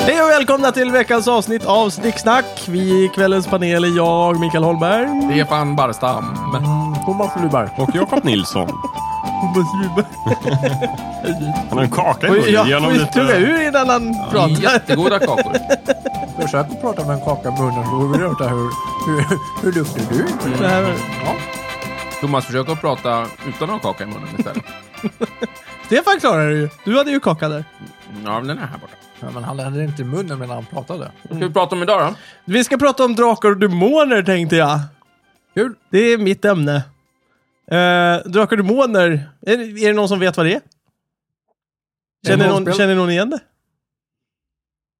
Hej och välkomna till veckans avsnitt av Snicksnack. Vi i kvällens panel är jag, Mikael Holmberg. Stefan Barstam. Thomas Luberg. Och Jakob Nilsson. Thomas Luberg. Han har en kaka i Oj, munnen. jag Genom får ju tugga lite... ur innan han pratar. Jättegoda kakor. Försök att prata med en kaka i munnen så får vi veta hur, hur, hur duktig du är. Det här- Thomas, försök att prata utan att ha kaka i munnen istället. Stefan klarar det ju. Du hade ju kaka där. Ja, men den är här borta. Ja, men han hade inte i munnen medan han pratade. Vad ska vi prata om idag då? Vi ska prata om drakar och demoner tänkte jag. Kul! Det är mitt ämne. Eh, drakar och demoner. Är, är det någon som vet vad det är? Känner någon, rollspel? känner någon igen det?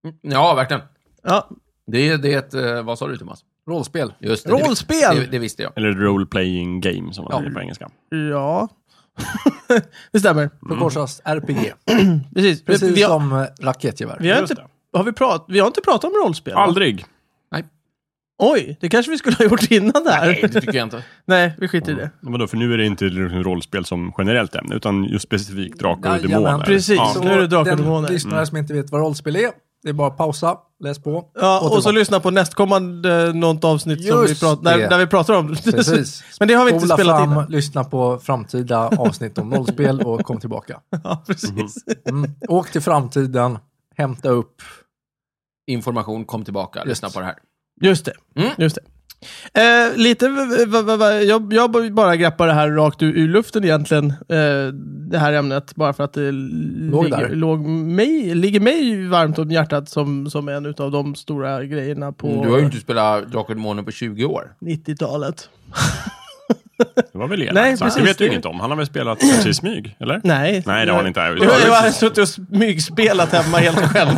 Mm, Ja, verkligen. Ja, Det är det är ett... eh, Vad sa du Thomas? Rollspel. Just det. Rollspel! Det, det, det visste jag. Eller role-playing game som man Ja. säger på engelska. Ja. det stämmer. Förkortas RPG. Precis. Precis vi, har, som eh, raketgevär. vi, har Just inte, har vi, prat, vi har inte pratat om rollspel. va? Aldrig. Oj, det kanske vi skulle ha gjort innan det här. Nej, det tycker jag inte. Nej, vi skiter i det. Vadå, för nu är det inte liksom rollspel som generellt ämne, utan just specifikt drakar och Jajamän. demoner. Precis. Ja. Nu är det drakar och den demoner. Mm. lyssnare som inte vet vad rollspel är, det är bara att pausa, läs på. Ja, och, så tillbaka. lyssna på nästkommande eh, något avsnitt som vi Just pratar, där, det. där vi pratar om det. Precis. Men det har vi inte Spola spelat fram, in. lyssna på framtida avsnitt om rollspel och kom tillbaka. Ja, precis. Mhm. Mm. Åk till framtiden, hämta upp. Information, kom tillbaka. Lyssna på det här. Just det. Mm. Just det. Eh, lite, v- v- v- v- jag, jag bara greppar det här rakt ur, ur luften egentligen, eh, det här ämnet, bara för att det låg, ligger, där. låg mig, ligger mig varmt om hjärtat som, som en utav de stora grejerna på Mm, Du har ju inte spelat Drakar och Demoner på 20 år. 90-talet. Det var väl elakt Nej, sagt. precis. Det vet du inget om. Han har väl spelat kanske i smyg, eller? Nej. Nej, det har han inte. Jag, jag, har suttit och smygspelat hemma helt själv.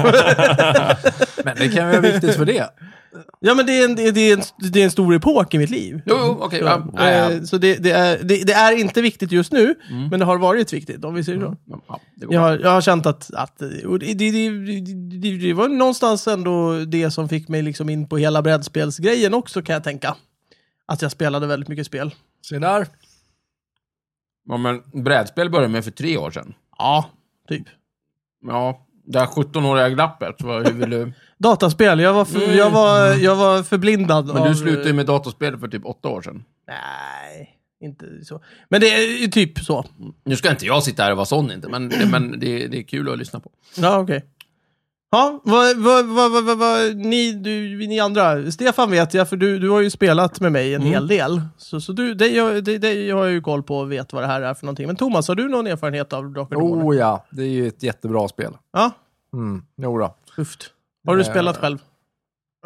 Men det kan ju vara viktigt för det. ja, men det är, en, det, är- det är en, det är en stor epok i mitt liv. Jo, jo, okej. Så, ja, ja, ja. eh, så det, det, är, det, det är inte viktigt just nu, men det har varit viktigt, om vi säger så. Ja, det går Jag bra. har, jag har känt att, att och det, det, det, det, det var någonstans ändå det som fick mig liksom in på hela brädspelsgrejen också kan jag tänka. Att jag spelade väldigt mycket spel. Se där. Ja, men brädspel började med för tre år sedan. Ja, typ. Ja, det här 17-åriga glappet. Vad, hur vill du... Dataspel, jag var, för, Mm. jag var, jag var förblindad Men av, du slutade ju med datorspel för typ åtta år sedan. Nej, inte så. Men det är ju typ så. Nu ska inte jag sitta här och vara sån inte, men, men det, det är kul att lyssna på. Ja, okej. Ja, vad, vad, vad, vad, vad, vad ni, du, ni andra, Stefan vet jag, för du, du har ju spelat med mig en Mm. hel del. Så, så du, det, jag- det, det har jag ju koll på och vet vad det här är för någonting. Men Thomas, har du någon erfarenhet av Drakar och Demoner? Oh ja, det är ju ett jättebra spel. Ja, Mm, jo då. tufft. Har du Eh, spelat själv?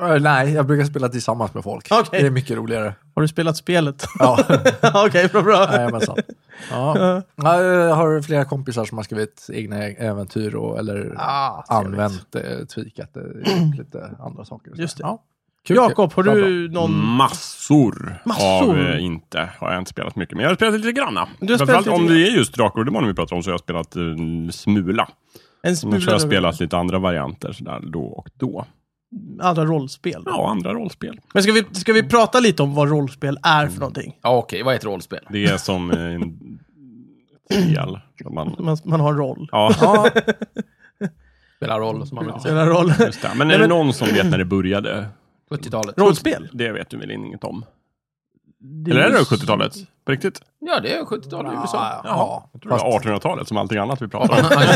Eh, Nej, jag brukar spela tillsammans med folk. Okej. Det är mycket roligare. Har du spelat spelet? Ja, Ja, okej, bra, bra. jajamensan. Ja. Ja, Jag har flera kompisar som har skrivit egna äventyr och, eller Ah, trevligt. använt, eh, tweakat eh, gjort lite andra saker. och så. Just det. Ja. Kul, Jakob, har kul. Bra, Mm. du någon... Massor, Massor. av eh, inte har jag inte spelat mycket. Men jag har spelat lite granna. Du har spelat Framförallt om lite det är just drakar och demoner vi pratar om så har jag spelat eh, smula. En Men så har smula jag spelat lite andra varianter sådär då och då. andra rollspel? Ja, andra rollspel. Men ska vi, ska vi prata lite om vad rollspel är Mm. för någonting? Ja, okej, vad är ett rollspel? Det är som eh, en spel. som Man, Man, man har en roll. ja, bra. Ja, Spelar roll, som man brukar säga. Spelar roll. just det. Men är det någon som vet när det började? 70-talet. Rollspel? Det vet du väl inget om? Det Eller är det måste- 70-talet? På riktigt? Ja, det är 70-talet i USA. ja. Jag tror det Fast- är 1800-talet som allting annat vi pratar om. Det här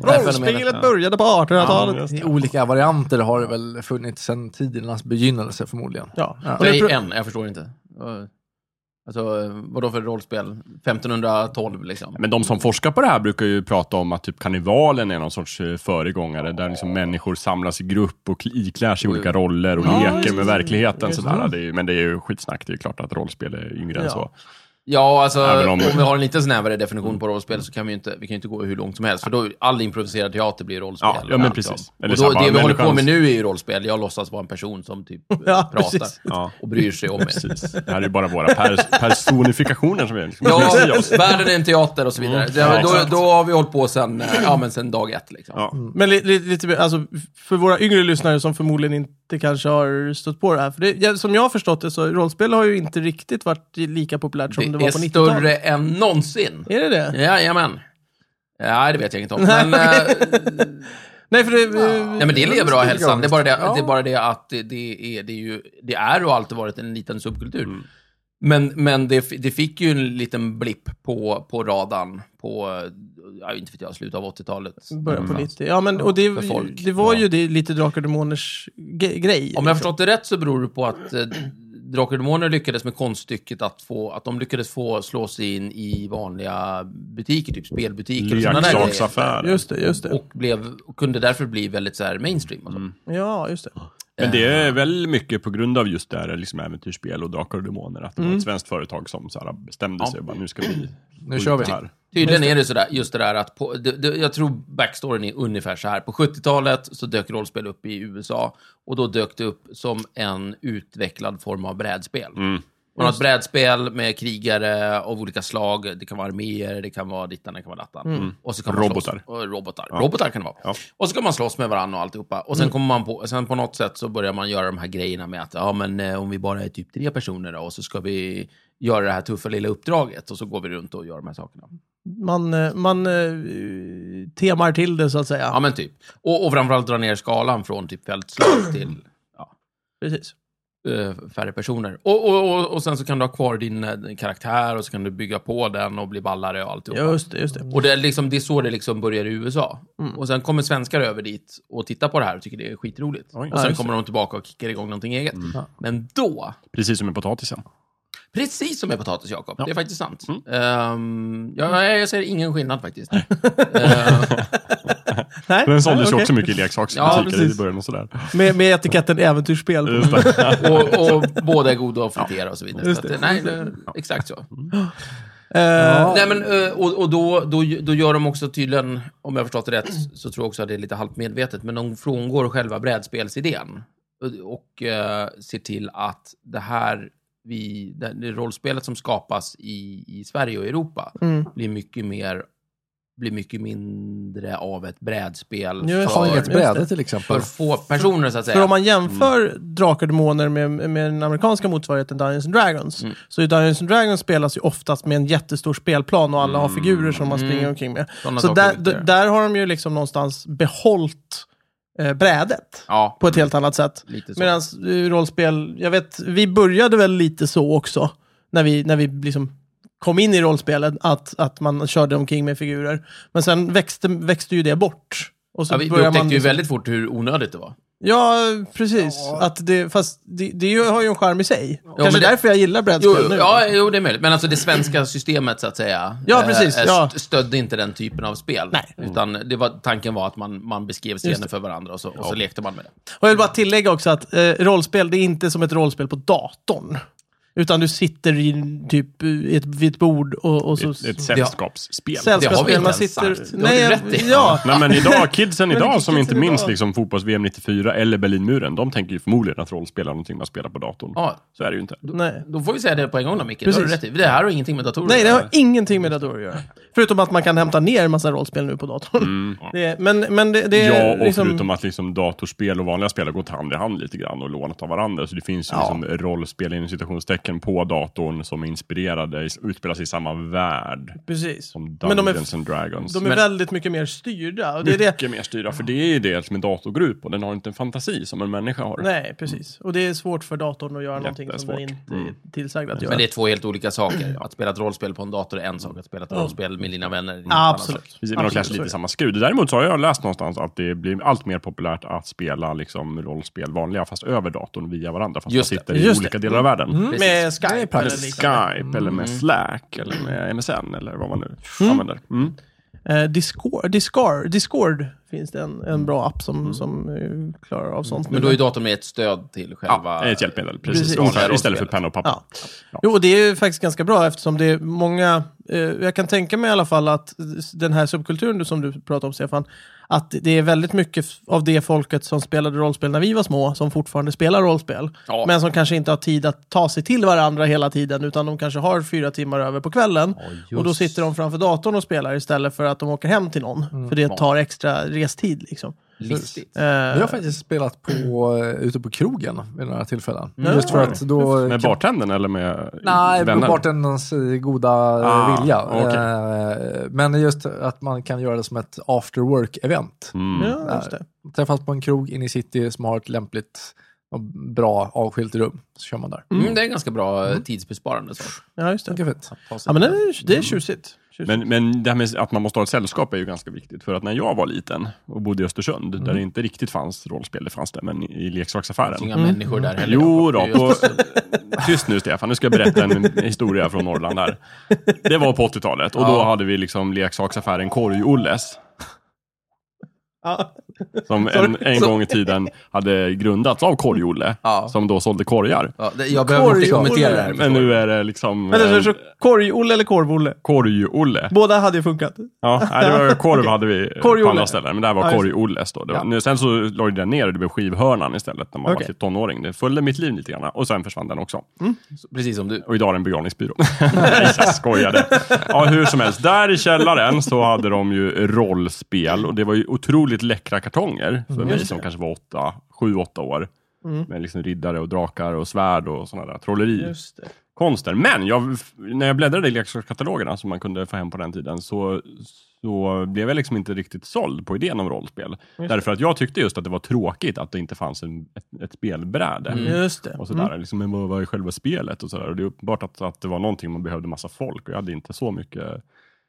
fenomenet. Rollspelet började på 1800-talet. Just I det. olika varianter har det väl funnits sedan tidernas begynnelse förmodligen. Ja. Ja. Och det Nej, pro- en, jag förstår inte. Eh, Alltså, eh, vadå för rollspel? 1512 liksom. Men de som forskar på det här brukar ju prata om att typ karnevalen är någon sorts eh, föregångare där liksom människor samlas i grupp och kl- iklär sig olika roller och leker med verkligheten. Sådär. Det är, ju- men det är ju skitsnack. Det är ju klart att rollspel är yngre än Ja. så. Ja, alltså Även om... om- vi har en lite snävare definition på rollspel så kan vi ju inte, vi kan ju inte gå hur långt som helst. För då all improviserad teater blir rollspel. Ja, ja, men Allt, precis. ja. Eller Och då, så det här, vi bara håller på med människans- nu är ju rollspel. Jag låtsas vara en person som typ eh, Ja, pratar precis. Ja. och bryr sig om er. Precis. Det här är ju bara våra pers personifikationer som vi liksom Ja, i oss. världen är en teater och så vidare. Det, Ja, då, exakt. då har vi hållit på sen, eh, ja, men sen dag ett. Liksom. Ja. Men li- li- lite mer, alltså, för våra yngre lyssnare som förmodligen inte kanske har stött på det här. För det, ja, som jag har förstått det så rollspel har ju inte riktigt varit lika populärt som det, Det var är på 90-talet. större än någonsin. Är det det? Jajamän. Nej, det vet jag inte om. Men, eh, Nej, för det... Ja, men det lever bra i hälsan. Det är bara det, Ja. det, är bara det att det, det, är, det, är ju, det är och alltid varit en liten subkultur. Men, men det, det fick ju en liten blipp på, på radarn på, eh, ja, inte vet jag, slutet av 80-talet. Början på 90. Ja, men och det, Mm. För folk. det var Ja. ju det, lite Drakar och Demoners ge- grej. Om jag har liksom. förstått det rätt så beror det på att eh, Drakar och Demoner lyckades med konststycket att, få, att de lyckades få slå sig in i vanliga butiker, typ spelbutiker och sådana där grejer. Leksaksaffären. Just det, just det. Och, blev, och kunde därför bli väldigt så här mainstream. Och så. Ja, just det. Men det är väl mycket på grund av just det här liksom äventyrsspel och Drakar och Demoner. Att det var ett svenskt företag som så här bestämde sig och bara, nu ska vi... Nu kör vi. Här. Tydligen är det sådär, just det där att, på, det, det, jag tror backstoryn är ungefär så här. På 70-talet så dök rollspel upp i USA och då dök det upp som en utvecklad form av brädspel. Man har ett brädspel med krigare av olika slag. Det kan vara arméer, det kan vara dittan, det kan vara dattan. Och så kan man Robotar. Slåss, och Mm. robotar. robotar kan det vara. Och så kan man slåss med varandra och alltihopa. Och sen, kommer man på, sen på något sätt så börjar man göra de här grejerna med att ja, men, eh, om vi bara är typ tre personer då, och så ska vi göra det här tuffa lilla uppdraget och så går vi runt och gör de här sakerna. Man, eh, man eh, temar till det så att säga. Ja, men typ. Och, och framförallt dra ner skalan från typ fältslag till ja, Precis. eh, färre personer. Och, och, och, och sen så kan du ha kvar din eh, din karaktär och så kan du bygga på den och bli ballare och alltihopa. Just Mm. det, just det. Och det är, liksom, det är så det liksom börjar i USA. Och sen kommer svenskar över dit och tittar på det här och tycker det är skitroligt. Och Ja, sen just Mm. kommer de tillbaka och kickar igång någonting eget. Men då, Precis som med potatisen. precis som med potatis, Jakob, det är faktiskt sant. Mm. Ehm, ja, nej, jag ser ingen skillnad faktiskt. Ehm, Nej, Den såldes ju okej. också mycket i Ja, leksaksbutiker precis. i början och sådär. Med, med etiketten äventyrsspel. på. Just det. och, och båda är goda att fritera och så vidare. Så att, nej, det, exakt så. Eh, Nej, men, eh, och och då, då, då gör de också tydligen, om jag har förstått det rätt, Mm. så tror jag också att det är lite halvt medvetet, men de frångår själva brädspelsidén. Och, och eh, ser till att det här, vi, det, det rollspelet som skapas i, i Sverige och Europa Mm. blir mycket mer blir mycket mindre av ett brädspel Just det. Ta för, inget Just det. bräde till för exempel. få personer, så att säga. För om man jämför Drakar och Demoner med, med den amerikanska motsvarigheten Dungeons and Dragons, så i Dungeons and Dragons spelas ju oftast med en jättestor spelplan och alla har figurer som man springer omkring med. Sådana så saker där, vet jag. d- där har de ju liksom någonstans behållt eh, brädet ja, på ett helt annat sätt. lite så. Medan rollspel, jag vet, vi började väl lite så också, när vi, när vi liksom kom in i rollspelen, att, att man körde omkring med figurer. Men sen växte, växte ju det bort. Och så ja, vi, vi började man upptäckte ju liksom- väldigt fort hur onödigt det var. Ja, precis. Att det, fast det, det ju- har ju en charm i sig. Kanske men det- därför jag gillar Jo, brädspel nu. ja, jo, det är möjligt. Men alltså det svenska systemet, så att säga, Ja, eh, precis, eh, ja. st- stödde inte den typen av spel. Nej. Utan det var, tanken var att man, man beskrev Just scener det. för varandra och så, och så lekte man med det. Och jag vill bara tillägga också att eh, rollspel, det är inte som ett rollspel på datorn. Utan du sitter i, en- typ, i ett, vid ett bord och, och så... Ett, ett sällskapsspel. Det har vi Sällskapsspel, inte man ens sitter... sagt. Det har Nej, du jag- rätt i. ja. Nej men idag, kidsen Men idag kidsen som inte idag. minns liksom fotbolls-VM 94 eller Berlinmuren, de tänker ju förmodligen att rollspel är någonting man spelar på datorn. Ja, Så är det ju inte. Nej. då får vi säga det på en gång då, Micke. Det har du Precis. rätt i. Det här har ingenting med datorer Nej, att det göra. har ingenting med datorer att göra. Förutom att man kan hämta ner en massa rollspel nu på datorn. Mm. Det är, men, men det, det är Ja, och liksom... förutom att liksom datorspel och vanliga spel har gått hand i hand lite grann och lånat av varandra. Så det finns ju liksom rollspel inom citationstecken på datorn som är inspirerade, utspelar sig i samma värld Precis. som Men de är, Dungeons and Dragons. de är Men- väldigt mycket mer styrda. Och det är det, Mycket mer styra, för det är ju det som är datorgrop och den har inte en fantasi som en människa har. Nej, precis. Och det är svårt för datorn att göra någonting som den Mm. Jättesvårt. Mm. inte är tillsagd att göra. Men det är två helt olika saker. Att spela ett rollspel på en dator är en sak, att spela ett rollspel med dina vänner är en helt annan sak. Absolut. Precis, men de klär Absolut, så är sig lite i det. samma skrud. Däremot så har jag läst någonstans att det blir allt mer populärt att spela liksom rollspel vanliga, fast över datorn via varandra. Fast Just man det. sitter i Just Mm. olika delar av världen. Med Skype Eller eller liknande. Skype, eller med Slack, eller med NSN, eller vad man nu använder. Mm. Eh, Discord, Discord, Discord finns det en, en bra app som, som eh, klarar av sånt. Mm. Men nu. då är datorn med ett stöd till själva... Ja, ett hjälpmedel. Precis. Precis. Ungefär, Istället för Rollspelet. penna och papper. Ja. Jo, och det är ju faktiskt ganska bra eftersom det är många, eh, jag kan tänka mig i alla fall att eh, den här subkulturen du- som du pratar om Stefan, att det är väldigt mycket f- av det folket som spelade rollspel när vi var små som fortfarande spelar rollspel. Ja. Men som kanske inte har tid att ta sig till varandra hela tiden utan de kanske har fyra timmar över på kvällen. och då sitter de framför datorn och spelar istället för att de åker hem till någon. För det tar extra restid liksom. Listigt. Vi har Eh, faktiskt spelat på, eh, ute på krogen vid några tillfällen. Mm. Just för att då... Med bartendern eller med Nej, vänner? bartendens eh, goda ah, Ah, vilja. okej. Eh, Men just att man kan göra det som ett after work-event. Mm. Ja, just det. Träffas på en krog inne i city som har ett lämpligt och bra avskilt rum. Så kör man där. Mm, det är en ganska bra eh, tidsbesparande sak. Ja, just det. Mycket fint. Ta sig Ja, men det är, det är tjusigt. tjusigt. Men, men det här med att man måste ha ett sällskap är ju ganska viktigt. För att när jag var liten och bodde i Östersund, där det inte riktigt fanns rollspel, det fanns det, men i Det finns leksaksaffären. inga människor där heller. Jo Det är då, ju på, just- tyst nu Stefan, nu ska jag berätta en historia från Norrland där. Det var på 80-talet och då Ja. hade vi liksom leksaksaffären Korg-Olles. Ja. Som en, en gång i tiden hade grundats av Korg-Olle, Ja. som då sålde korgar. Ja, det, jag behöver inte Korg- kommentera det här. Men nu är det liksom Vänta, så, eh, så korg-Olle eller korv-Olle? Korg-Olle. Båda hade ju funkat. Ja, nej, det var korv hade vi Korg-Olle. på andra ställen, men det här var Ja, just det. korg-Olles. Då. Det var, Ja. nu, sen så låg den ner och det blev skivhörnan istället när man Okej. var typ tonåring. Det följde mitt liv lite grann och sen försvann den också. Precis som du. Och idag är det en begravningsbyrå. Nej, jag skojade. Ja, hur som helst, där i källaren så hade de ju rollspel och det var ju otroligt läckra kartonger Mm. för mig som kanske var åtta, sju, åtta år. Med liksom riddare och drakar och svärd och sådana där trolleri Just det. konster. Men jag, när jag bläddrade i leksakskatalogerna som man kunde få hem på den tiden så, så blev jag liksom inte riktigt såld på idén om rollspel. Därför att jag tyckte just att det var tråkigt att det inte fanns en, ett, ett spelbräde. Just det. Och sådär. Liksom, men vad vad är själva spelet? Och sådär. Och det är uppenbart att, att det var någonting man behövde massa folk och jag hade inte så mycket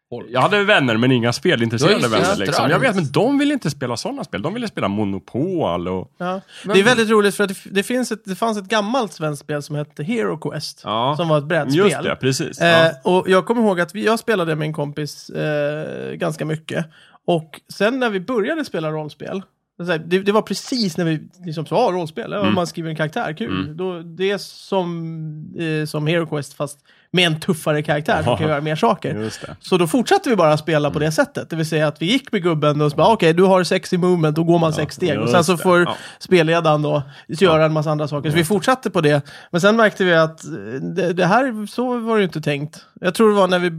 Folk. jag hade vänner men inga Du har spelintresserade ju vänner. systrar. Liksom. Jag vet, men de ville inte spela sådana spel. De ville spela Monopol och... Ja. Det är väldigt roligt för att det, f- det, finns ett, det fanns ett gammalt svenskt spel som hette Hero Quest. Ja. Som var ett brädspel. Just det, precis. Eh, ja. och jag kommer ihåg att vi, jag spelade med en kompis eh, ganska mycket. Och sen när vi började spela rollspel, så här, det, det var precis när vi liksom sa "Ah, rollspel, ja, Mm. man skriver en karaktär, kul. Då, det är som, eh, som Hero Quest fast med en tuffare karaktär som kan göra mer saker. Just det. Mm. Så då fortsatte vi bara spela på det sättet. Det vill säga att vi gick med gubben och så bara, "Ah, okej, du har sex i movement, då går man sex steg. Och sen just så det. får Ja. spelledaren då göra en massa andra saker. Så vi fortsatte på det. Men sen märkte vi att eh, det, det här, så var det ju inte tänkt. Jag tror det var när vi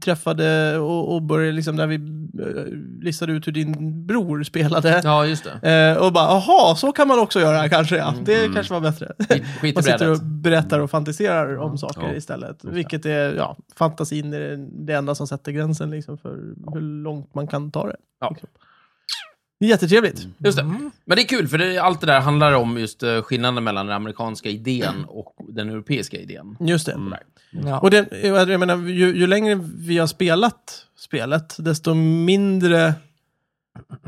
träffade och, och började, liksom när vi eh, listade ut hur din bror spelade. Ja, just det. Eh, och bara, aha, så kan man också göra kanske. Ja. Det kanske var bättre. Skit- Skit i Man sitter och brädet. berättar och fantiserar om saker Ja. istället. Vilket är, ja, fantasin är det enda som sätter gränsen liksom för hur långt man kan ta det. Ja. Liksom. Mm. Jättetrevligt. Just det. Men det är kul, för det, allt det där handlar om just eh, skillnaden mellan den amerikanska Mm. idén och den europeiska idén. Just det. Ja. Och det, jag menar, ju, ju längre vi har spelat spelet, desto mindre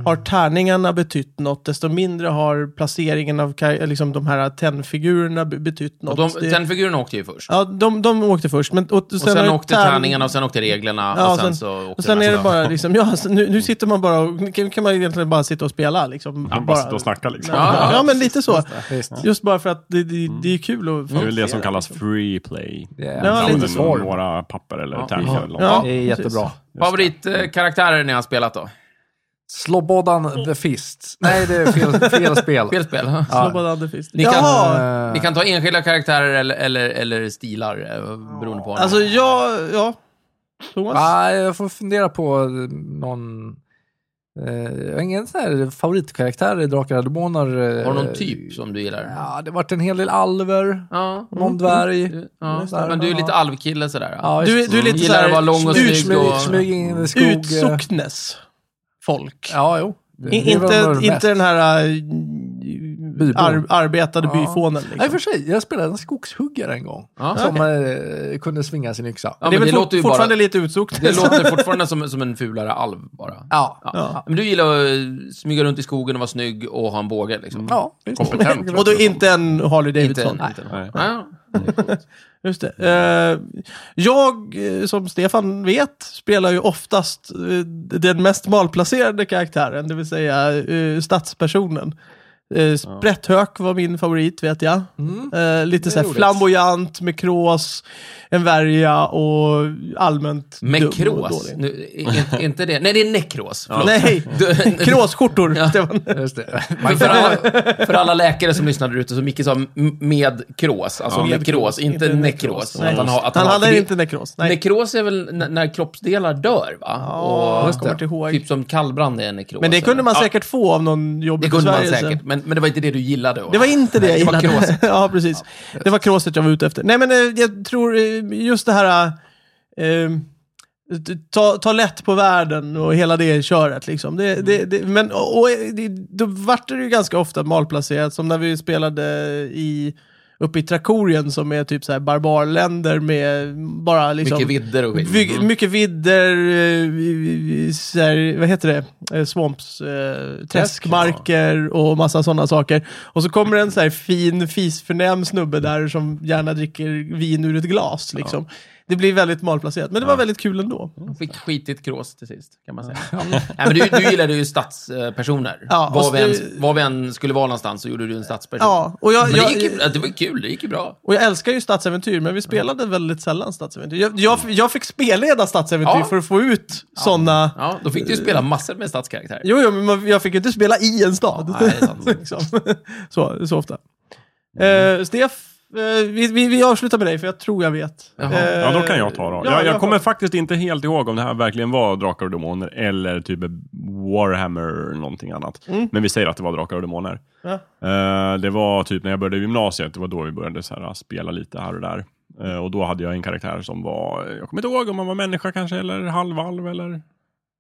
har tärningarna betytt något, desto mindre har placeringen av ka- liksom, de här tennfigurerna be- betytt Och något. de, Det- Tennfiguren åkte ju först. Ja, de, de åkte först. Men, och, Och sen, har ju åkte tärn- tärningarna och sen åkte reglerna Ja, och sen, sen- så åkte Mm. Och sen är det nästa. bara liksom, ja, så nu, nu sitter man bara och, nu kan kan man egentligen bara sitta och spela liksom. Ja, bara sitta och snacka liksom. Ja, Ja, ja, men lite så. Visst. Just bara för att det, det, det är kul och Det är väl det som fantisera, kallas liksom. free play. Det är Ja, Ja, lite lite svår. Några papper eller Ja. tärningar eller något. Ja. Det är precis. jättebra. Favoritkaraktärer ni har spelat då? Mm. Slobodan the Fist. Nej, det är fel, fel spel. Fel spel? Ja. Slobodan the Fist. Ni kan- Jaha! Eh, Ni kan ta enskilda karaktärer eller, eller, eller stilar, eh, beroende på. Alltså, jag, ja. Thomas? Ja, jag får fundera på någon... Eh, jag har ingen sån här favoritkaraktär i Drakar och Demoner. eh. har du någon typ som du gillar? Ja, det har varit en hel del alver, Ja. Mm. någon dvärg. ja. Sådär, Men du är ja. lite alvkille sådär. Ja, just- Du, är- du är lite Gillar att vara lång och ut- snygg och- Smyg, smyg in i skog. eh. Utsocknes folk. Ja, jo. Det- I, det är väl inte, mest. inte den här äh, ar, arbetade Ja. byfånen. Nej, för Liksom. sig. Jag spelade en skogshuggare en gång. Ja. Som eh, kunde svinga sin yxa. Ja, Ja. Det är men väl det låter fort, ju bara- fortfarande lite utsocknes. Det låter fortfarande som, som en fulare alv bara. ja. Ja. Men du gillar att eh, smyga runt i skogen och vara snygg och ha en båge liksom? visst. Kompetent. Och då inte en Harley Inte Davidson. en liten. Nej. Ja. Just det. Eh, jag, eh, som Stefan vet, spelar ju oftast eh, den mest malplacerade karaktären, det vill säga eh, statspersonen. Eh, Sprätthök var min favorit vet jag. Mm. Eh, lite Det är såhär roligt. flamboyant med krås, en värja och allmänt dum Med och krås? dålig. Nu, i- i- inte det. Nej, det är nekros. Förlåt. Nej, Du- kråsskjortor. Ja. Stefan. Just det. Men för, alla, för alla läkare som lyssnar där ute, så Micke sa m- med krås, alltså Med nekros, inte nekros. Nej. Att han, har, att han, han har- hade det- inte nekros. Nej. Nekros är väl n- när kroppsdelar dör, va? Ja, jag kommer inte ihåg. Typ som kallbrand är nekros. men det kunde man eller? säkert få av någon jobb Ja, det i kunde man Sverige. säkert, men, men det var inte det du gillade. Det var inte det jag Det var gillade. kråset. ja, precis. Det var kråset jag var ute efter. Nej, men eh, jag tror eh, just det här... eh, eh, ta, ta lätt på världen och hela det köret. Liksom. Det, det, det, men, och, och, eh, det, då vart det ju ganska ofta malplacerat, som när vi spelade i uppe i Trakorien som är typ så här barbarländer med bara liksom... Mycket vidder och skit. Vy- mycket vidder, eh, vi- vi- vi- så här, vad heter det, eh, swamps, eh, träskmarker och massa sådana saker. Och så kommer en så här fin, fisförnäm snubbe där som gärna dricker vin ur ett glas. Liksom. Det blir väldigt malplacerat, men det var väldigt kul ändå. Fick skitigt krås till sist, kan man säga. Nej, men du, du gillade ju stadspersoner. Ja, var, och vi så- än, var vi än skulle vara någonstans så gjorde du en stadsperson. Ja, eh, och jag, Men det, jag, gick, ju- det var kul, det gick ju bra. och jag älskar ju stadsäventyr, men vi spelade väldigt sällan stadsäventyr. Jag, jag, jag fick spelleda stadsäventyr Ja. för att få ut sådana... Ja, då fick du ju spela massor med stadskaraktärer. Jo, jo, men man- jag fick ju inte spela i en stad. Nej, det är sant. liksom. så, så ofta. Eh, Mm. Stef, eh, vi, vi, vi avslutar med dig, för jag tror jag vet. Jaha. Eh, Ja, då kan jag ta då. ja, jag, jag jag kommer har- faktiskt inte helt ihåg om det här verkligen var Drakar och Demoner eller typ Warhammer någonting annat. Mm. Men vi säger att det var Drakar och Demoner. Ja. Eh, det var typ när jag började i gymnasiet, det var då vi började så här, spela lite här och där. Eh, och då hade jag en karaktär som var, jag kommer inte ihåg om han var människa kanske, eller halvvalv eller,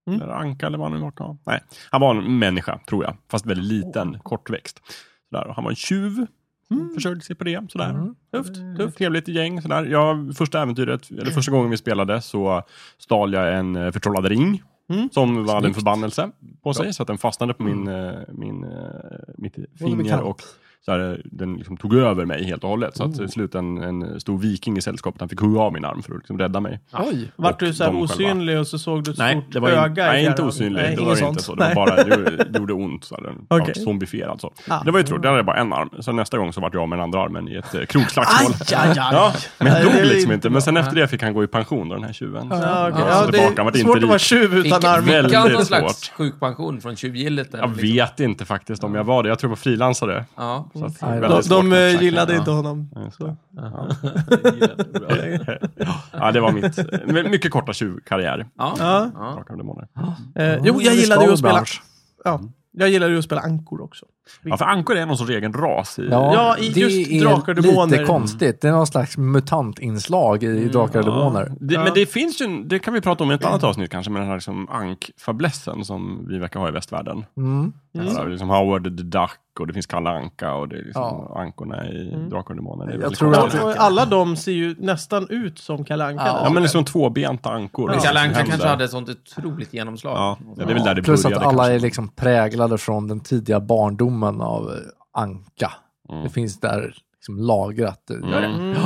Mm. eller anka eller vad han nu vart. Ja. Nej, han var en människa tror jag, fast väldigt liten, kortväxt. Sådär. och Han var en tjuv. Försörjde sig på det. Sådär. Mm. Tufft, Tufft, tufft. trevligt gäng. Sådär. Jag, första äventyret, eller första gången vi spelade så stal jag en eh, förtrollad ring. Mm. Som hade en Snyggt. förbannelse på sig, så att den fastnade på min, eh, min, eh, mitt finger. kallt. Och så här, den liksom tog över mig helt och hållet. Så att till slut en, en stor viking i sällskapet, han fick hugga av min arm för att liksom rädda mig. Oj. Vart Och du så här de själva. osynlig och så såg du ett Nej, stort det var in, öga i nej, inte fjärran? osynlig. Nej, det inget var det sånt. inte så. Det var Nej. bara, det gjorde ont. Så här, den vart Okej. zombifierad. Alltså. Ah. Det var ju tråkigt, där hade jag bara en arm. Så nästa gång så vart jag av med den andra armen i ett eh, Aj, krogslagsmål. aj, aj. Ja, men Nej, han dog det är liksom inte. Men sen efter det fick han gå i pension, då, den här tjuven. Så Ja, han okej. var ja, så det tillbaka, han vart är svårt att inte vara rik. tjuv utan Fick- arm. fick han någon Väldigt slags svårt. sjukpension från tjuvgillet? eller Jag liksom? vet inte faktiskt om jag var det. Jag tror jag var frilansare. Ja. Så att, Mm. väldigt De, svårt de med eh, exakt. gillade Ja. inte honom. Ja, just Så. det. Ja. Ja, det var mitt. Men Mycket korta tjuvkarriär. Ja. Ja. Ja. Raka demoner. Eh, jo, jag det gillade ju att ska vara spela... Ja, Mm. jag gillade ju att spela ankor också. Ja, för ankor är någon sorts egen ras. I, Ja, i det just är Drakar och Demoner. Mm, lite konstigt. Det är någon slags mutantinslag i Drakar och Demoner. Det, Ja. Men det finns ju, en- det kan vi prata om i ett annat avsnitt kanske, med den här liksom ankfablessen som vi verkar ha i västvärlden. Mm. Mm. liksom Howard the Duck och det finns Kalle Anka och det är liksom Ja. ankorna i Mm. Drakar och Demoner. Det är Jag väldigt tror konstigt. Ja, och alla de ser ju nästan ut som Kalle Anka. Ja, Ja, men liksom tvåbenta ankor. Men Det är Kalle som Anka händer. kanske hade ett sånt otroligt genomslag. Ja, ja, det är väl där det Plus att började alla kanske. är liksom präglade från den tidiga barndomen av eh, anka. Det finns där liksom lagrat. Mm. Ja, det är någon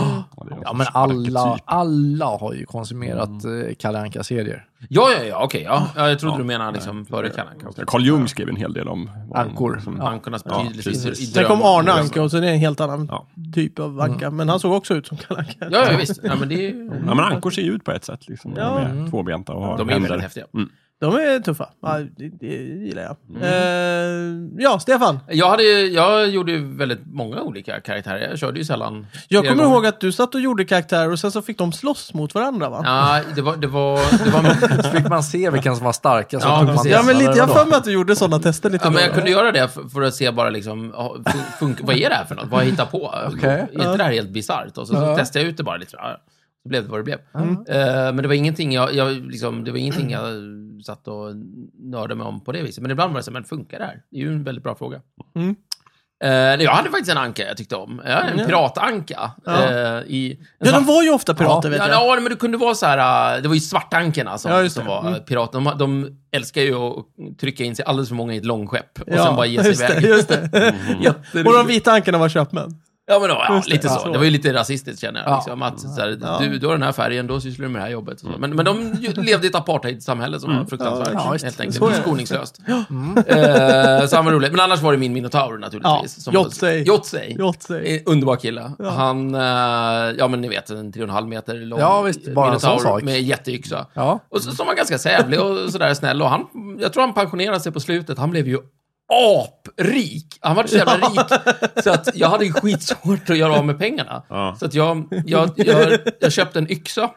Ja, men sorts alla, arketyp. alla har ju konsumerat mm. Kalle Anka-serier. Ja, ja, ja, okej. Ja. Ja, jag trodde du menade liksom före Kalle Anka. också. Carl Jung skrev en hel del om liksom- vad han- Ankor. som- Ja. Ankornas Ja, betydelse i precis. dröm. Mm. Sen kom Arne Anka och sen är det en helt annan Ja. typ av Anka. Men han såg också ut som Kalle Anka. Ja, ja, visst. Ja, men det är ju... Ja, men ankor ser ju ut på ett sätt. Liksom. Ja. De är tvåbenta och har De är ju händer. väldigt häftiga. De är tuffa. Ja, det, det gillar jag. Mm. Eh, ja, Stefan. Jag, hade, ju- jag gjorde ju väldigt många olika karaktärer. Jag körde ju sällan. Jag flera kommer gånger. ihåg att du satt och gjorde karaktärer och sen så fick de slåss mot varandra va? Ja, det var... Det var, det var Så fick man se vilken som var starkast. Ja, och tog man precis. Ja, men nästa lite, jag har då. för mig att du gjorde sådana tester lite Ja, men då, jag va? kunde göra det för, för att se bara liksom, ja, fun- fun- vad är det här för något? Vad har jag hittat på? Okej. Är inte det här helt bisarrt? Och så, så testade jag ut det bara lite. Ja, Så blev det vad det blev. Mm. Eh, men det var ingenting jag, jag, liksom, det var ingenting jag satt och nördade mig om på det viset. Men ibland var det så, men funkar det här? Det är ju en väldigt bra fråga. Mm. Eh, nej, jag hade faktiskt en anka jag tyckte om. Jag hade en Ja. piratanka. Ja. eh, i, en Ja, svart- de var ju ofta pirater vet ja, jag. Ja, men det kunde vara så här, äh, det var ju svartankerna som, Ja, just som det. var Mm. mm. pirater. De, de älskar ju att trycka in sig alldeles för många i ett långskepp och Ja, sen bara ge sig just det, iväg. Just det. och de vita ankarna var köpmän. Ja, men ja, ja Just det, lite ja. så. Det var ju lite rasistiskt känner jag. Ja. Liksom, att, så här, Ja. du, du har den här färgen, då sysslar du med det här jobbet. Så. Men, men de ju- levde i ett apartheidsamhälle som var fruktansvärt, Ja, visst. helt Så är enkelt. det. Mm. Skoningslöst. Eh, så han var rolig. Men annars var det min Minotaur naturligtvis. Ja, som- Jotsey. Jotsey. Jotsey. Eh, Underbar kille. Ja. Han, eh, ja men ni vet, en 3,5 meter lång Ja, visst, bara en sån Minotaur sak. med jätteyxa. Ja. Och så, som var ganska sävlig och sådär snäll. Och han, jag tror han pensionerade sig på slutet. Han blev ju aprik. Han var så jävla rik. Så att jag hade ju skitsvårt att göra av med pengarna. Ja. Så att jag, jag, jag, jag köpte en yxa.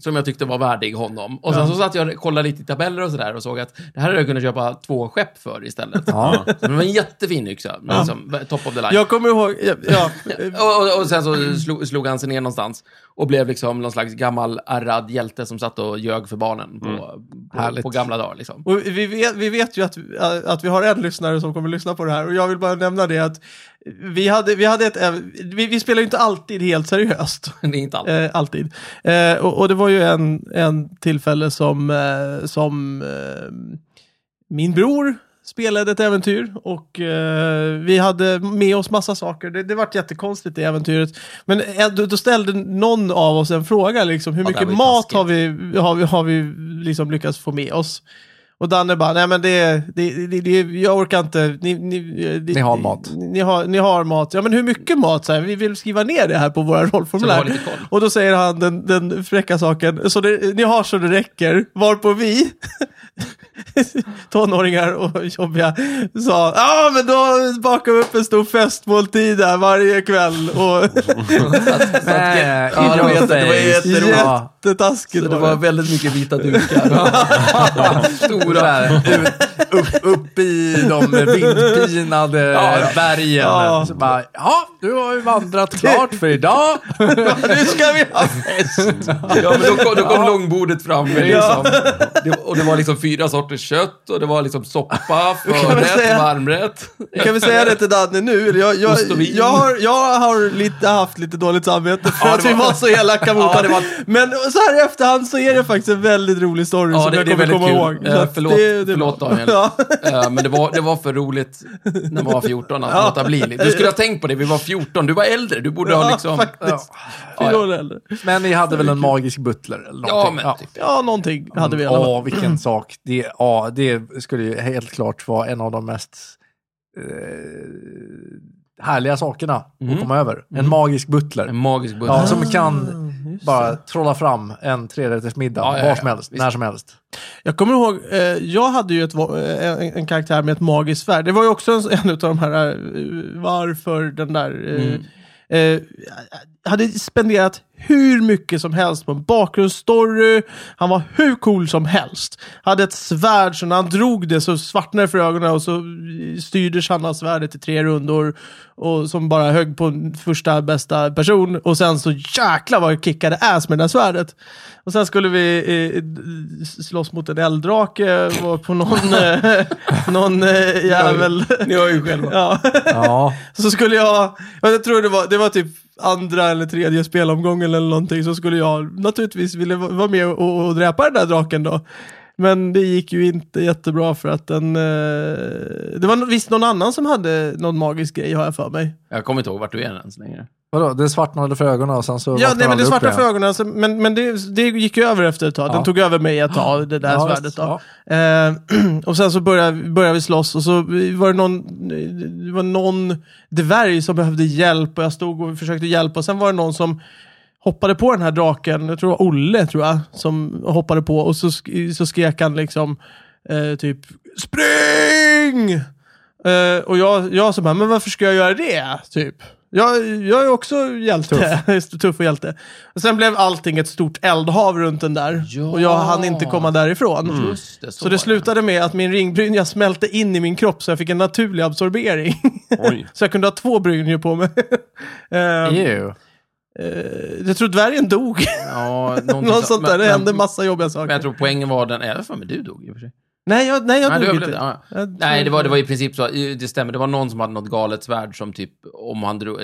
Som jag tyckte var värdig honom. Och sen så satt jag och kollade lite i tabeller och sådär och såg att det här hade jag kunnat köpa två skepp för istället. Ja. Så det var en jättefin yxa. men Liksom, top of the line. Jag kommer ihåg, ja, ja, Och, och, och sen så slog, slog han sig ner någonstans och blev liksom någon slags gammal ärrad hjälte som satt och ljög för barnen på, på, Härligt. på gamla dagar. Liksom. Och vi, vet, vi vet ju att, att vi har en lyssnare som kommer lyssna på det här och jag vill bara nämna det att vi, hade, vi, hade ett, ev- vi, vi spelar ju inte alltid helt seriöst. Det är inte allt. Eh, alltid. Eh, och, och det var ju en, en tillfälle som, eh, som eh, min bror spelade ett äventyr och eh, vi hade med oss massa saker. Det, det vart jättekonstigt det äventyret. Men eh, då, då ställde någon av oss en fråga, liksom, hur Ja, det här mycket var ju mat taskigt. har vi, har vi, har vi liksom lyckats få med oss? Och Danne bara, nej men det, det, det, det jag orkar inte. Ni, ni, eh, det, Ni har mat. Ni, ni, har, ni har mat. Ja men hur mycket mat? Så här, vi vill skriva ner det här på våra Så vi har rollformulär. lite koll. Och då säger han den, den fräcka saken, så det, ni har så det räcker, varpå vi tonåringar och jobbiga sa, ja men då bakar vi upp en stor festmåltid där varje kväll och Nej, Ja, det var jätte- det var jätteroligt. Ja. jättetaskigt Så det var var det. väldigt mycket vita dukar. Stora. Stora, ut, upp, upp i de vindpinade Ja, bergen. Ja. Så bara, ja, nu har vi vandrat klart för idag. Nu ska vi ha Ja, men då kom, då kom långbordet fram. Med, Ja. liksom. det, och det var liksom fyra sorters kött och det var liksom soppa, kan väl förrätt, säga- varmrätt. Kan vi säga det till Danne nu? eller? Jag, jag, Ost och vin. jag, har, jag har lite, haft lite dåligt samvete för Ja, att det vi var- var så elaka mot Ja, det honom. Men så här i efterhand så är det faktiskt en väldigt rolig story Ja, som det- jag det är kommer väldigt komma ihåg. kul. Så Eh, att förlåt- förlåt, Daniel. Ja. Eh, men det var, det var för roligt när man var 14 att låta bli. Du skulle ha tänkt på det, vi var 14, du var äldre, du borde ha Ja, liksom... faktiskt. Ja, Fyra ja. år äldre. Men ni hade väl en magisk butler eller Ja, någonting? men typ. Ja, någonting hade vi i alla fall. Ja, vilken sak. Det, ja, det skulle ju helt klart vara en av de mest eh, härliga sakerna att komma över. En magisk butler. En magisk bulle. Ja, som kan bara trolla fram en trerättersmiddag Ja, ja, ja. var som helst, Visst. när som helst. Jag kommer ihåg, eh, jag hade ju ett, va- eh, en, en karaktär med ett magiskt svärd. Det var ju också en, en av de här, eh, varför den där... Eh, eh, hade spenderat hur mycket som helst på en bakgrundsstory. Han var hur cool som helst. Hade ett svärd, så när han drog det så svartnade det för ögonen och så styrdes han av svärdet i tre rundor. Och som bara högg på första bästa person. Och sen så jäklar vad jag kickade ass med det där svärdet. Och sen skulle vi eh, d- slåss mot en elddrake var på någon, eh, någon eh, jävel. Ni hör ju själva. Ja. Ja, Så skulle jag, jag tror det var, det var typ andra eller tredje spelomgången eller någonting, så skulle jag naturligtvis vilja va- vara med och, och dräpa den där draken då. Men det gick ju inte jättebra för att den... Eh, det var nog- visst någon annan som hade någon magisk grej har jag för mig. Jag kommer inte ihåg vart du är än så länge. vadå? Det svartnade för ögonen och sen så Ja, vaknade nej, men det alla upp svarta igen. för ögonen, alltså, men, men det, det gick ju över efter ett tag. Den Ja. tog över mig ett tag, det där Ja, svärdet. visst. Då. Ja. Eh, och sen så började, började vi slåss och så var det någon, det var någon dvärg som behövde hjälp och jag stod och försökte hjälpa. Och sen var det någon som hoppade på den här draken, jag tror det var Olle tror jag, som hoppade på och så, sk- så skrek han liksom eh, typ Spring! Eh, och jag, jag som bara, men varför ska jag göra det? Typ. Jag, jag är också hjälte. Tuff. Tuff och hjälte. Och sen blev allting ett stort eldhav runt den där. Ja. Och jag hann inte komma därifrån. Just det, Så det slutade med att min ringbrynja smälte in i min kropp så jag fick en naturlig absorbering. Oj. så jag kunde ha två brynjor på mig. Ehm, Ew. eh, jag tror dvärgen dog. Ja, någonting Något så- sånt men- där. Det men- hände massa jobbiga saker. Men jag tror poängen var den... Eller för men du dog i och för sig. Nej, jag, nej, jag Nej, dog du inte. överlevde, ja. Jag tror- Nej, det var, det var i princip så. Det stämmer. Det var någon som hade något galet svärd som typ, om han drog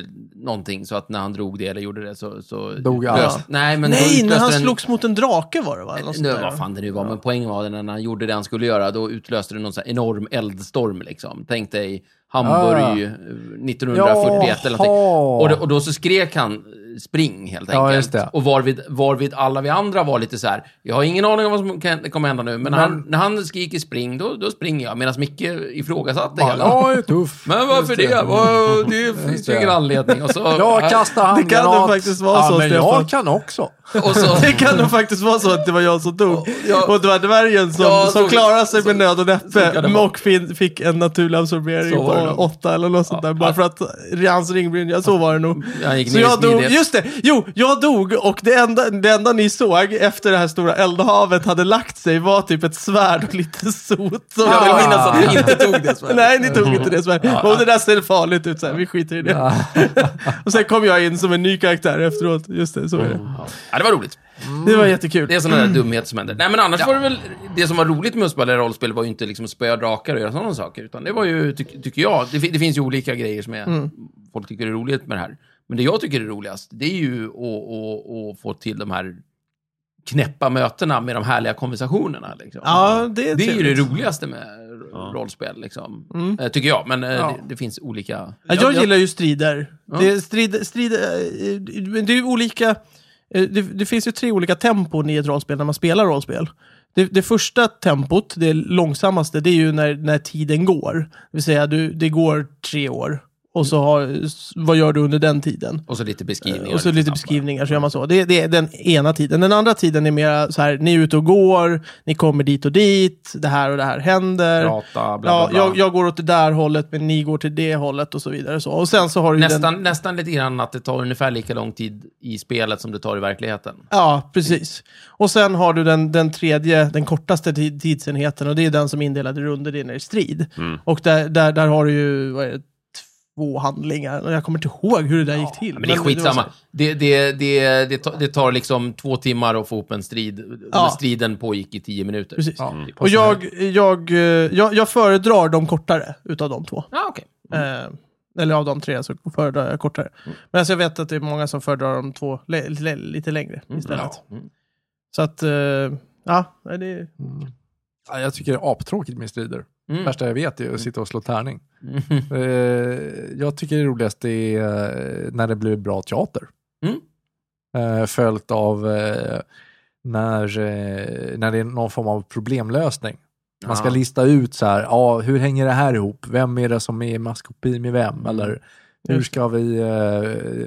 någonting, så att när han drog det eller gjorde det så... så Dog han. löst- Nej, men då Nej, utlöste när han den- slogs mot en drake var det va? Eller något sånt Eh, Nu, där. vad fan det nu var, men poängen var den när han gjorde det han skulle göra, då utlöste det någon sån här enorm eldstorm liksom. Tänk dig Hamburg 1941 eller någonting. Jaha. Och, då- och då så skrek han eh, spring helt Ja, enkelt. just det. Och varvid, varvid alla vi andra var lite så här, jag har ingen aning om vad som kan, kommer hända nu, men, när han, när han skriker spring, då, då springer jag. Medan Micke ifrågasatte hela. Ja, tuff. Men varför det? Vad- Det finns ju det. ingen anledning. Och så, Jag kastar Det kan handgranat. det faktiskt vara ja, så, men Stefan. jag kan också. och så, Det kan nog faktiskt vara så att det var jag som dog. Ja. Och det var dvärgen som, Ja, som så- klarade sig så- med nöd och kan det näppe vara. och fin, fick en naturlig absorbering Så var det på nog. åtta eller något sånt där. Bara för att hans ringbryn, ja så var det nog. Han gick Så ner i jag dog, smidighet. just det! Jo, jag dog och det enda, det enda ni såg efter det här stora eldhavet hade lagt sig var typ ett svärd och lite sot. Som jag vill minnas att vi inte tog det. Sverige. Nej, ni tog inte det svärdet. Och det där ser farligt ut, så här. vi skiter i det. och sen kom jag in som en ny karaktär efteråt. Just det, så är det. Ja, det var roligt. Det var jättekul. Det är sådana där dumheter som händer. Nej, men annars var det väl... Det som var roligt med att spela rollspel var ju inte liksom spöa drakar och göra sådana saker. Utan det var ju, ty- tycker jag... Det, fi- det finns ju olika grejer som är, Mm. folk tycker är roligt med det här. Men det jag tycker är roligast, det är ju att, att, att få till de här knäppa mötena med de härliga konversationerna. Liksom. Ja, det är det är ju det trevligt. Mm. roligaste med r- rollspel, liksom. Eh, tycker jag. Men eh, det, det finns olika... Ja, jag gillar ju strider. Det, är strid, strid, eh, men det är ju olika... eh, Det, det finns ju tre olika tempon i ett rollspel när man spelar rollspel. Det, det första tempot, det långsammaste, det är ju när, när tiden går. Det vill säga, du, det går tre år. Och så har, vad gör du under den tiden? Och så lite beskrivningar. Eh, Och så lite snabbare. beskrivningar, så gör man så. Det, det är den ena tiden. Den andra tiden är mer så här, ni är ute och går, ni kommer dit och dit, det här och det här händer. Prata, bla, bla, bla. Ja, jag, jag går åt det där hållet, men ni går till det hållet och så vidare. Så. Och sen så har du ju Den, Nästan, nästan lite grann att det tar ungefär lika lång tid i spelet som det tar i verkligheten. ja, precis. Och sen har du den, den tredje, den kortaste tid, tidsenheten och det är den som är indelad i runder, det är när det är strid. Mm. Och där, där, där har du ju, vad är det, två handlingar. Och Jag kommer inte ihåg hur det där gick till. Men det var är så här- skitsamma. Det, det, det, det, tar, det tar liksom två timmar att få upp en strid. Ja. Striden pågick i tio minuter. Precis. Ja, Och jag, jag, eh, jag, jag föredrar de kortare utav de två. ah, okej. Mm. Eh, eller av de tre så föredrar jag kortare. Men alltså jag vet att det är många som föredrar de två le- le- lite längre Mm. istället. Så att, eh, ja, nej, det är... Ja, jag tycker det är aptråkigt med strider. Mm. värsta jag vet är att sitta och slå tärning. Eh, jag tycker det roligaste är eh, när det blir bra teater. Mm. Eh, följt av eh, när, eh, när det är någon form av problemlösning. Man ska Ja. lista ut så här, ja, hur hänger det här ihop? Vem är det som är i maskopi med Mm. vem? Eller hur ska vi eh,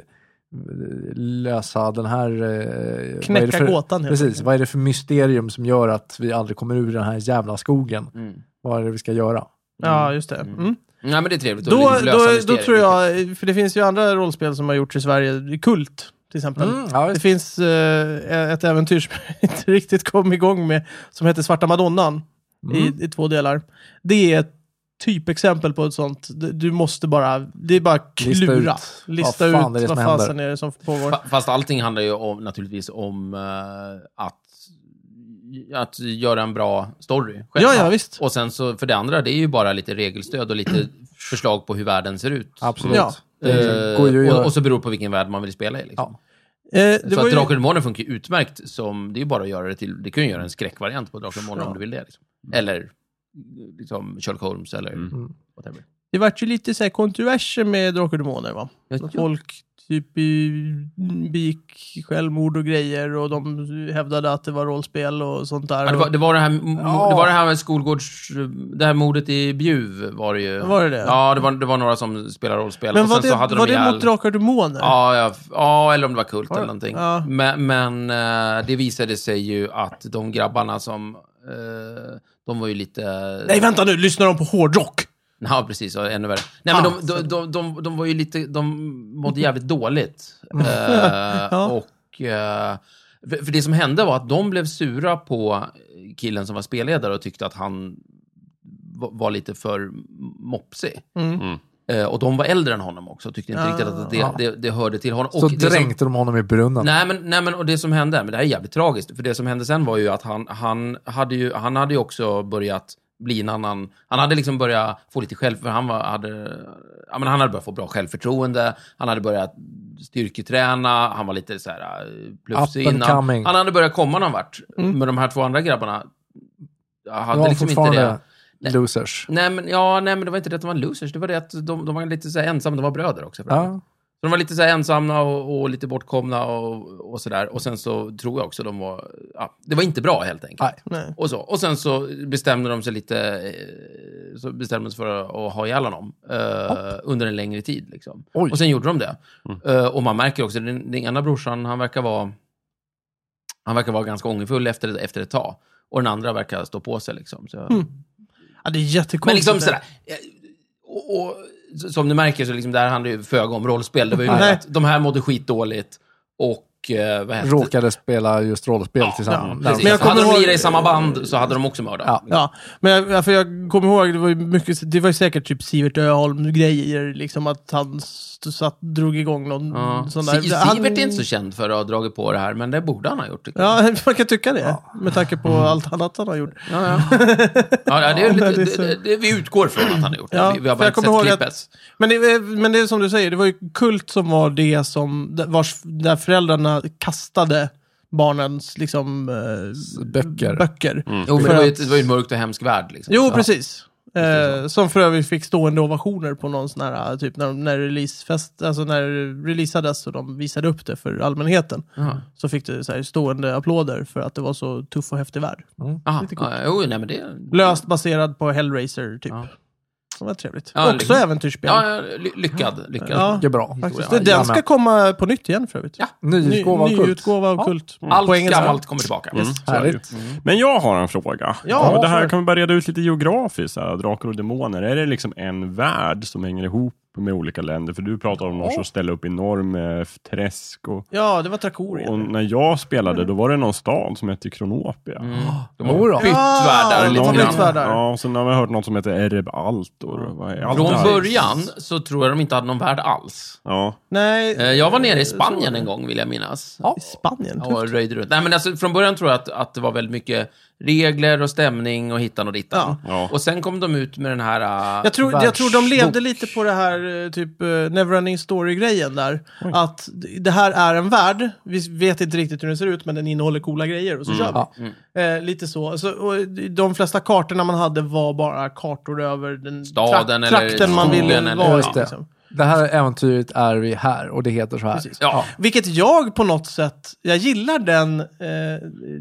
lösa den här... eh, vad är det Knäcka för- gåtan helt Precis, enkelt. vad är det för mysterium som gör att vi aldrig kommer ur den här jävla skogen? Mm. Vad är det vi ska göra? Ja, just det. Mm. Nej, men det är trevligt. att Då, liksom lösa då, då mysterier. tror jag, för det finns ju andra rollspel som har gjorts i Sverige, Kult till exempel. Mm, ja, Det visst. finns eh, ett äventyr som jag inte riktigt kom igång med, som heter Svarta Madonnan, Mm. i, i två delar. Det är ett typexempel på ett sånt, du du måste bara, det är bara Lista klura. Lista ut, ut. Vad fan är det vad som fasen händer? är det som pågår. Fa- Fast allting handlar ju om, naturligtvis om eh, att, att göra en bra story. själv. Ja, ja, visst. Och sen så, för det andra, det är ju bara lite regelstöd och lite förslag på hur världen ser ut. Absolut. Ja. Det Eh, går ju att och, göra. och så beror det på vilken värld man vill spela i. Liksom. Ja. Eh, det så var att ju, Drakar och Demoner funkar ju utmärkt som, det är ju bara att göra det till, det kan ju göra en skräckvariant på Drakar och Demoner om du vill det. Liksom. Eller liksom Sherlock Holmes eller Mm. whatever. det vart ju lite så här kontroverser med Drakar och Demoner va? Ja, ja. Folk typ i- begick självmord och grejer och de hävdade att det var rollspel och sånt där. Ja, det, var, det, var det, här, m- Ja. det var det här med skolgårds... Det här mordet i Bjuv var det ju. Var det det? Ja, det var, det var några som spelade rollspel. Men och var sen det, så hade var de det ihjäl- mot Drakar och Demoner? Ja, ja, f- ja, eller om det var kult eller någonting. Ja. Men, men eh, det visade sig ju att de grabbarna som... eh, de var ju lite... Nej, vänta nu, lyssnar de på hårdrock? Ja, precis. Och ännu värre. Nej, men de, de, de, de, de var ju lite... De mådde jävligt dåligt. Eh, Och... eh, för för det som hände var att de blev sura på killen som var spelledare och tyckte att han va- var lite för mopsig. Eh, och de var äldre än honom också och tyckte inte riktigt att det, det, det hörde till honom. Så och det som, dränkte de honom i brunnen. Nej men, nej men och det som hände, men det här är jävligt tragiskt, för det som hände sen var ju att han, han, hade, ju, han hade ju också börjat bli en annan, han hade liksom börjat få lite själv, för han var, hade, ja men han hade börjat få bra självförtroende, han hade börjat styrketräna, han var lite så här eh, plufsig Up and innan. coming. Mm. Han hade börjat komma någon vart, men de här två andra grabbarna hade var liksom inte fortfarande- det. Losers. Nej men, ja, nej, men det var inte det att de var losers. Det var det att de, de var lite så här ensamma. De var bröder också. för övrigt. Ja. Så de var lite så här ensamma och, och lite bortkomna och, och sådär. Och sen så tror jag också de var... Ja, det var inte bra helt enkelt. Nej. Nej. Och, så. och sen så bestämde de sig lite... eh, Så bestämde sig för att, att ha ihjäl honom eh, under en längre tid. Liksom. Oj. Mm. Och sen gjorde de det. Eh, och man märker också, den, den ena brorsan, han verkar vara... Han verkar vara ganska ångerfull efter, efter ett tag. Och den andra verkar stå på sig. Liksom. Så, Ja, det är jättekonstigt. men liksom sådär. eh, Och, och, s- som du märker så liksom, det här handlar ju föga om rollspel. Det var ju mer Nej. att de här mådde skitdåligt och eh, vad hette Råkade spela just rollspel tillsammans. Precis. Men jag Men hade kommer de ihåg- lirat i samma band så hade de också mördat. Ja. Ja, men jag, ja, för jag kommer ihåg, det var ju mycket, det var ju säkert typ Sivert Öholm-grejer, liksom att han st- satt, drog igång någon Ja. sån Si- där... han- Sivert är inte så känd för att ha dragit på det här, men det borde han ha gjort. tycker jag. Ja, man kan tycka det, med tanke Mm. på allt annat han har gjort. Ja, ja. ja, det är Ja, lite, det är så. det, det, det, vi utgår från att han har gjort det. Ja, vi, vi har för bara jag inte kommer ihåg sett att- klippet. Men det, är- men det är som du säger, det var ju Kult som var det som, vars, där föräldrarna kastade barnens liksom, eh, Böcker. böcker. Jo, men För det var ju att- ett- det var ju en mörkt och hemsk värld. Liksom. Jo, precis. Eh, som för övrigt fick stående ovationer på någon sån här, eh, typ när, de- när releasefest, alltså när det releasades och de visade upp det för allmänheten. Ja. Så fick det så här stående applåder för att det var så tuff och häftig värld. Aha, ja, jo, nej, men det... Löst baserad på Hellraiser, typ. Ja. Det var trevligt. Ja, Också liksom. äventyrsspel. Ja, ja, ly- lyckad. lyckad. Ja. Mycket bra. Faktiskt. Ja, Den den ska jajamän. komma på nytt igen för övrigt. Ja. Nyutgåva av Ny, Kult. nyutgåva av Ja. Kult. Allt På engelska. Mm. gammalt kommer tillbaka. så är det ju. Härligt. Mm. Men jag har en fråga. Ja, och det här för- kan vi bara reda ut lite geografiskt. så Här, drakar och demoner, är det liksom en värld som hänger ihop med olika länder? För du pratar om någon som ställer upp enorm eh, träsk. Och, Ja, det var Mm. Trakorien. och när jag spelade, då var det någon stad som hette Kronopia. Mm. De Jo då. har bytt Ja, Ah, världar de har lite bytt grann. världar. Ja, och sen har vi hört något som heter Ereb Altor. Vad är Från Altar? början så tror jag de inte hade någon värld alls. Ja. Nej, Eh, Jag var nere i Spanien en gång, vill jag minnas. i Spanien. Ja, och röjde runt. Nej, men alltså, från början tror jag att, att det var väldigt mycket regler och stämning och hittan och dittan. Ja. Ja. Och sen kom de ut med den här... äh, Jag tror, jag tror de Världsbok. levde lite på det här eh, typ eh, Neverending Story-grejen där. Att d- det här är en värld, vi vet inte riktigt hur den ser ut, men den innehåller coola grejer och Mm. så kör vi. Ja. Eh, lite så. så och de flesta kartorna man hade var bara kartor över den Staden trak- eller trakten man ville skogen eller- vara i. Just det. Liksom. Det här äventyret är vi här och det heter så här. Precis. Ja, Vilket jag på något sätt, jag gillar den... Eh,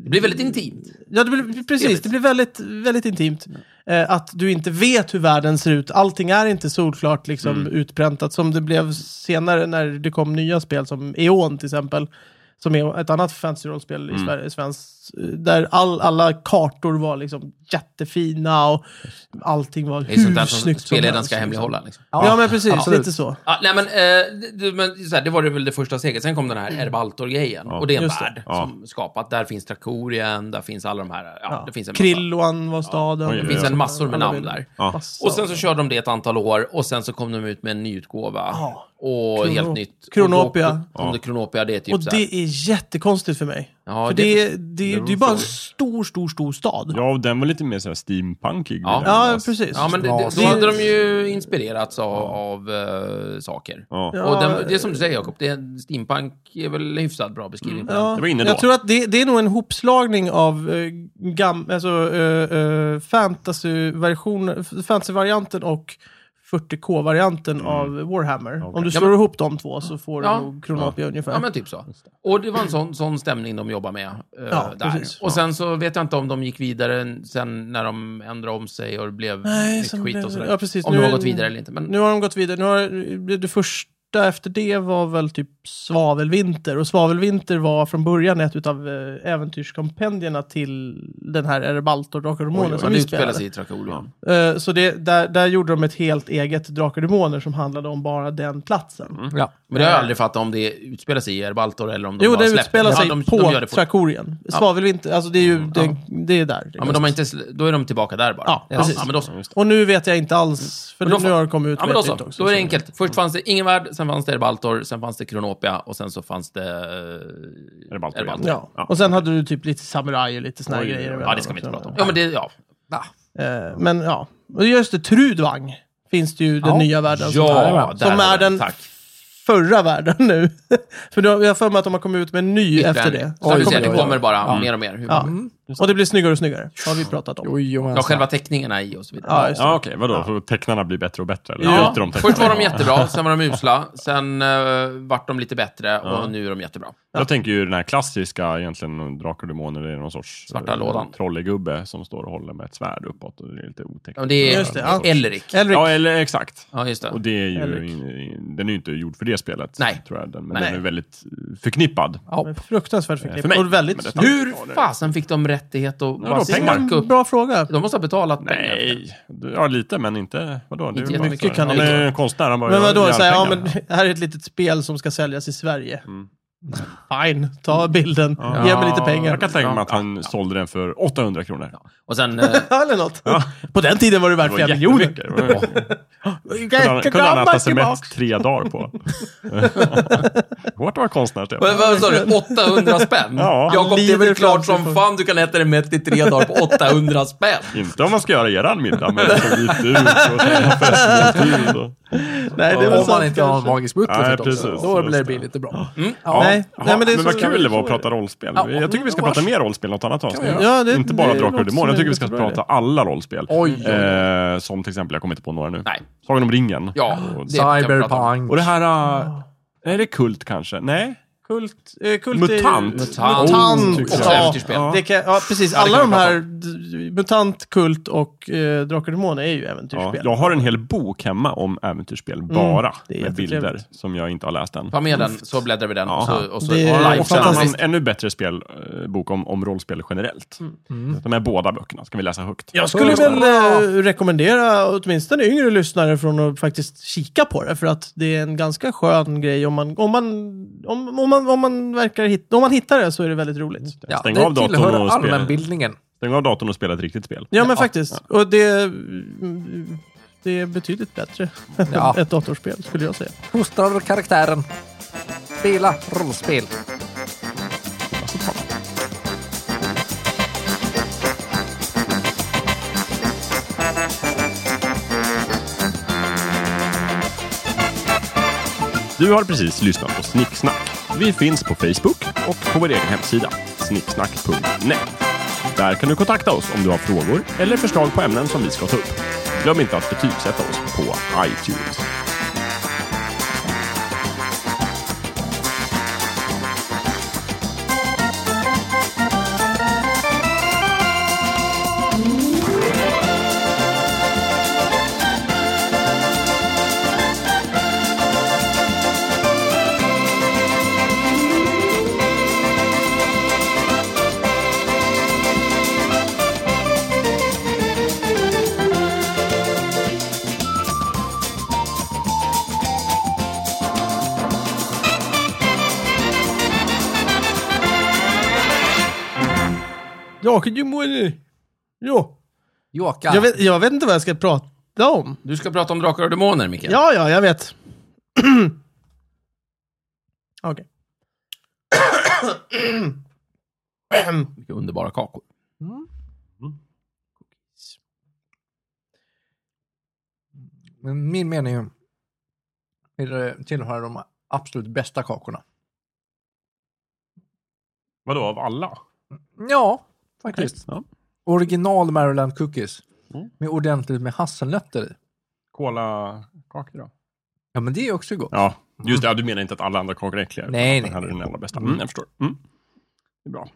det blir väldigt intimt. ja, det blir, Mm. precis, det blir väldigt, väldigt intimt. Eh, att du inte vet hur världen ser ut. Allting är inte solklart liksom, Mm. utpräntat som det blev senare när det kom nya spel som E.ON till exempel. Som är ett annat fantasy-rollspel Mm. i Sverige, svenskt. eh, Där all, alla kartor var liksom jättefina och allting var Det är sånt där hur som snyggt som spelledaren helst, ska liksom. hemlighålla. Liksom. Ja, men precis. absolut. Lite så. Ja, nej, men, eh, det- det, men så här, det var det väl det första steget. Sen kom den här Erbaltor-grejen. och det är en just det. värld Ja. som skapat. Där finns Trakorien, där finns alla de här... Ja, Ja. Det finns en massa. Krilloan var staden. Oj, Det finns Ja. en massor med Alla namn vill- där. Ja. Massa Och sen så körde de det ett antal år och sen så kom de ut med en ny utgåva. Ja. Och Krono- helt nytt. Kronopia. Och då- Om det Kronopia, det är typ Och så här. det är jättekonstigt för mig. Ja, för det- det, det, det, är ju bara en stor, stor, stor stad. ja, och den var lite mer så här steampunkig. Ja. vill jag Ja, minnas. precis. Ja, men det, det, då Det- hade de ju inspirerats av, av eh, saker. Ja. Ja. Och den, det är som du säger Jakob, det är, steampunk är väl en hyfsat bra beskrivning på den. Mm. Ja, Det var inne då. Jag tror att det, det är nog en hopslagning av eh, gam, alltså, eh, eh, fantasy-version- fantasy-varianten och 40k-varianten Mm. av Warhammer. Om du slår ihop de två så får Ja. du nog Kronopia ungefär. Ja, men typ så. Och det var en sån, sån stämning de jobbade med eh, Ja, där. precis. Och sen så vet jag inte om de gick vidare sen när de ändrade om sig och det blev Nej, nytt sen skit blev och det- sådär. ja, precis. Om Nu- de har gått vidare eller inte. Men, Nu har de gått vidare. Nu har, det första efter det var väl typ Svavelvinter. Och Svavelvinter var från början ett av äventyrskompendierna till den här Erebaltor, Drakar och Demoner men som det vi utspelar spelade. sig i Trakorien. Eh, Så det, där, där gjorde de ett helt eget Drakar och Demoner som handlade om bara den platsen. Mm, Ja. Men det har jag aldrig fattat om det utspelar sig i Erbaltor eller om de Eh. jo, bara det släpper. utspelar Ja, sig de, på de gör det fort- Trakorien. Svavelvinter, alltså det är ju det, det är där. Ja, men de har inte, sl- då är de tillbaka där bara. Ja, ja, precis. ja, men då, så. Och nu vet jag inte alls, för Men då nu får- har de kommit ut ja, men med då ett så. nytt också. Då är det så- enkelt. Först fanns det ingen värld, sen fanns det Erbaltor, sen fanns det Kronopia och sen så fanns det... eh, Är det Baltor Erbaltor. igen? Ja. och sen hade du typ lite samuraj och lite såna här Oj, oj, oj. grejer. Ja, det ska vi inte prata om. Ja, men det... Ja. Eh, men ja, och just det, Trudvang finns det ju den Ja. nya världen som Ja, är, där som har är vi den den. Tack. förra världen nu. För då, jag har för mig att de har kommit ut med en ny efter Ytterligare. det. Så Oj, du ser, oj, det oj. kommer bara mer och mer. Hur Ja. man- Och det blir snyggare och snyggare, har vi pratat om. Ja, Jojomensan. själva teckningarna i och så vidare. Ja, just det. Ja, okej, vadå? Får tecknarna blir bättre och bättre? Eller? Ja, Ja. De först var tecknarna? de jättebra, sen var de usla, sen eh, vart de lite bättre och Ja. nu är de jättebra. Jag tänker ju den här klassiska, egentligen, Drakar och Demoner, det är någon sorts Svarta eh, lådan. trollegubbe som står och håller med ett svärd uppåt och det är lite otäckt. Ja, men det är Just det, ja. Elric. Elric, Ja, eller exakt. Ja, just det. Och det är ju, Elric. den är ju inte gjord för det spelet, Nej. tror jag. Den, men Nej. den är väldigt eh, förknippad. är fruktansvärt Eh, För förknippat. mig. Och väldigt Men det- snyggt. Hur fasen fick de rättighet att bara pengar. sparka upp? Bra fråga. De måste ha betalat pengar. Nej, Eh, ja lite, men inte... Vadå? Det är Inte väl bara- jättemycket kan han det ju är vara. en konstnär, han bara Men gör vadå, så här, ja, men järnpengar. Mm. det här är ett litet spel som ska säljas i Sverige. Fine, ta bilden, ge mig lite pengar. Jag kan tänka mig att han sålde den för 800 kronor. Och sen... eh, Eller något. På den tiden var det värt Det var flera miljoner. jättemycket. Det var- kunde han, kunde han äta cement tre dagar på. Hårt att vara konstnär, Vad Stefan. vad sa du? 800 spänn? Ja. Jakob, det är Lider väl klart framför- som fan du kan äta dig mätt i tre dagar på 800 spänn? Inte om man ska göra eran middag, men så gick det ut och så här festmåltid. och- Nej, det är väl Om sant man inte har en kanske. magisk butler Nej, förstås, precis. då Mm. Just blir det det. billigt och bra. Ja. Nej, Jaha, nej, men det är men så- vad kul det var att så är det. prata rollspel. Ja, jag tycker vi ska vars. prata mer rollspel något annat avsnitt. vi göra? Ja, det- inte det bara låter Drakar och som Demoner. Jag tycker en vi ska jättebra prata alla rollspel. Oj, oj, oj. Eh, som till exempel, jag kommer inte på några nu. Nej. Sagan om ringen. Ja, Och, det kan vi prata om. Cyberpunk. och det här... eh, är det Kult kanske? Nej? Kult, eh, kult är- Mutant. Mutant. Mutant. Oh, tycker Också jag. äventyrsspel. Ja. Det kan, ja, precis. Ja, det Alla kan de vi prata här, d- Mutant, Kult och eh, Drakar och Demoner är ju Ja, äventyrsspel. jag har en hel bok hemma om äventyrsspel, bara. Mm. det är med jättetrevligt. bilder som jag inte har läst än. Ta med den, så bläddrar vi den. Och så, och så Det är- live Och sen Sen en sen annan, sist. ännu bättre spel, eh, bok om, om rollspel generellt. Mm. Så De här båda böckerna ska vi läsa högt. Jag skulle väl eh, rekommendera åtminstone yngre lyssnare från att faktiskt kika på det, för att det är en ganska skön grej om man, om man, om, om man, om man, verkar hitta, om man hittar det så är det väldigt roligt. Ja, Stäng det av datorn tillhör och spela. allmänbildningen. Stäng av datorn och spela ett riktigt spel. Ja, men faktiskt. Och det, mm, det är betydligt bättre än Ja. ett datorspel, skulle jag säga. Fostrar karaktären. Spela rollspel. Du har precis lyssnat på Snicksnack. Vi finns på Facebook och på vår egen hemsida, snicksnack.net. Där kan du kontakta oss om du har frågor eller förslag på ämnen som vi ska ta upp. Glöm inte att betygsätta oss på iTunes. Drakar och Demoner. Ja. Jåka. Jag vet, jag vet inte vad jag ska prata om. Du ska prata om Drakar och Demoner, Micke. Ja, ja, jag vet. Okej. Vilka underbara kakor. Men Min mening är det tillhör de absolut bästa kakorna. Vadå, av alla? Ja, faktiskt. Ja. Original Maryland cookies. Mm. Med ordentligt med hasselnötter i. Kolakakor då? Ja, men det är också gott. Ja, just det. Ja, du menar inte att alla andra kakor är äckliga? Nej, utan nej. att Den här är den allra bästa. Mm, jag förstår. Mm. Det är bra.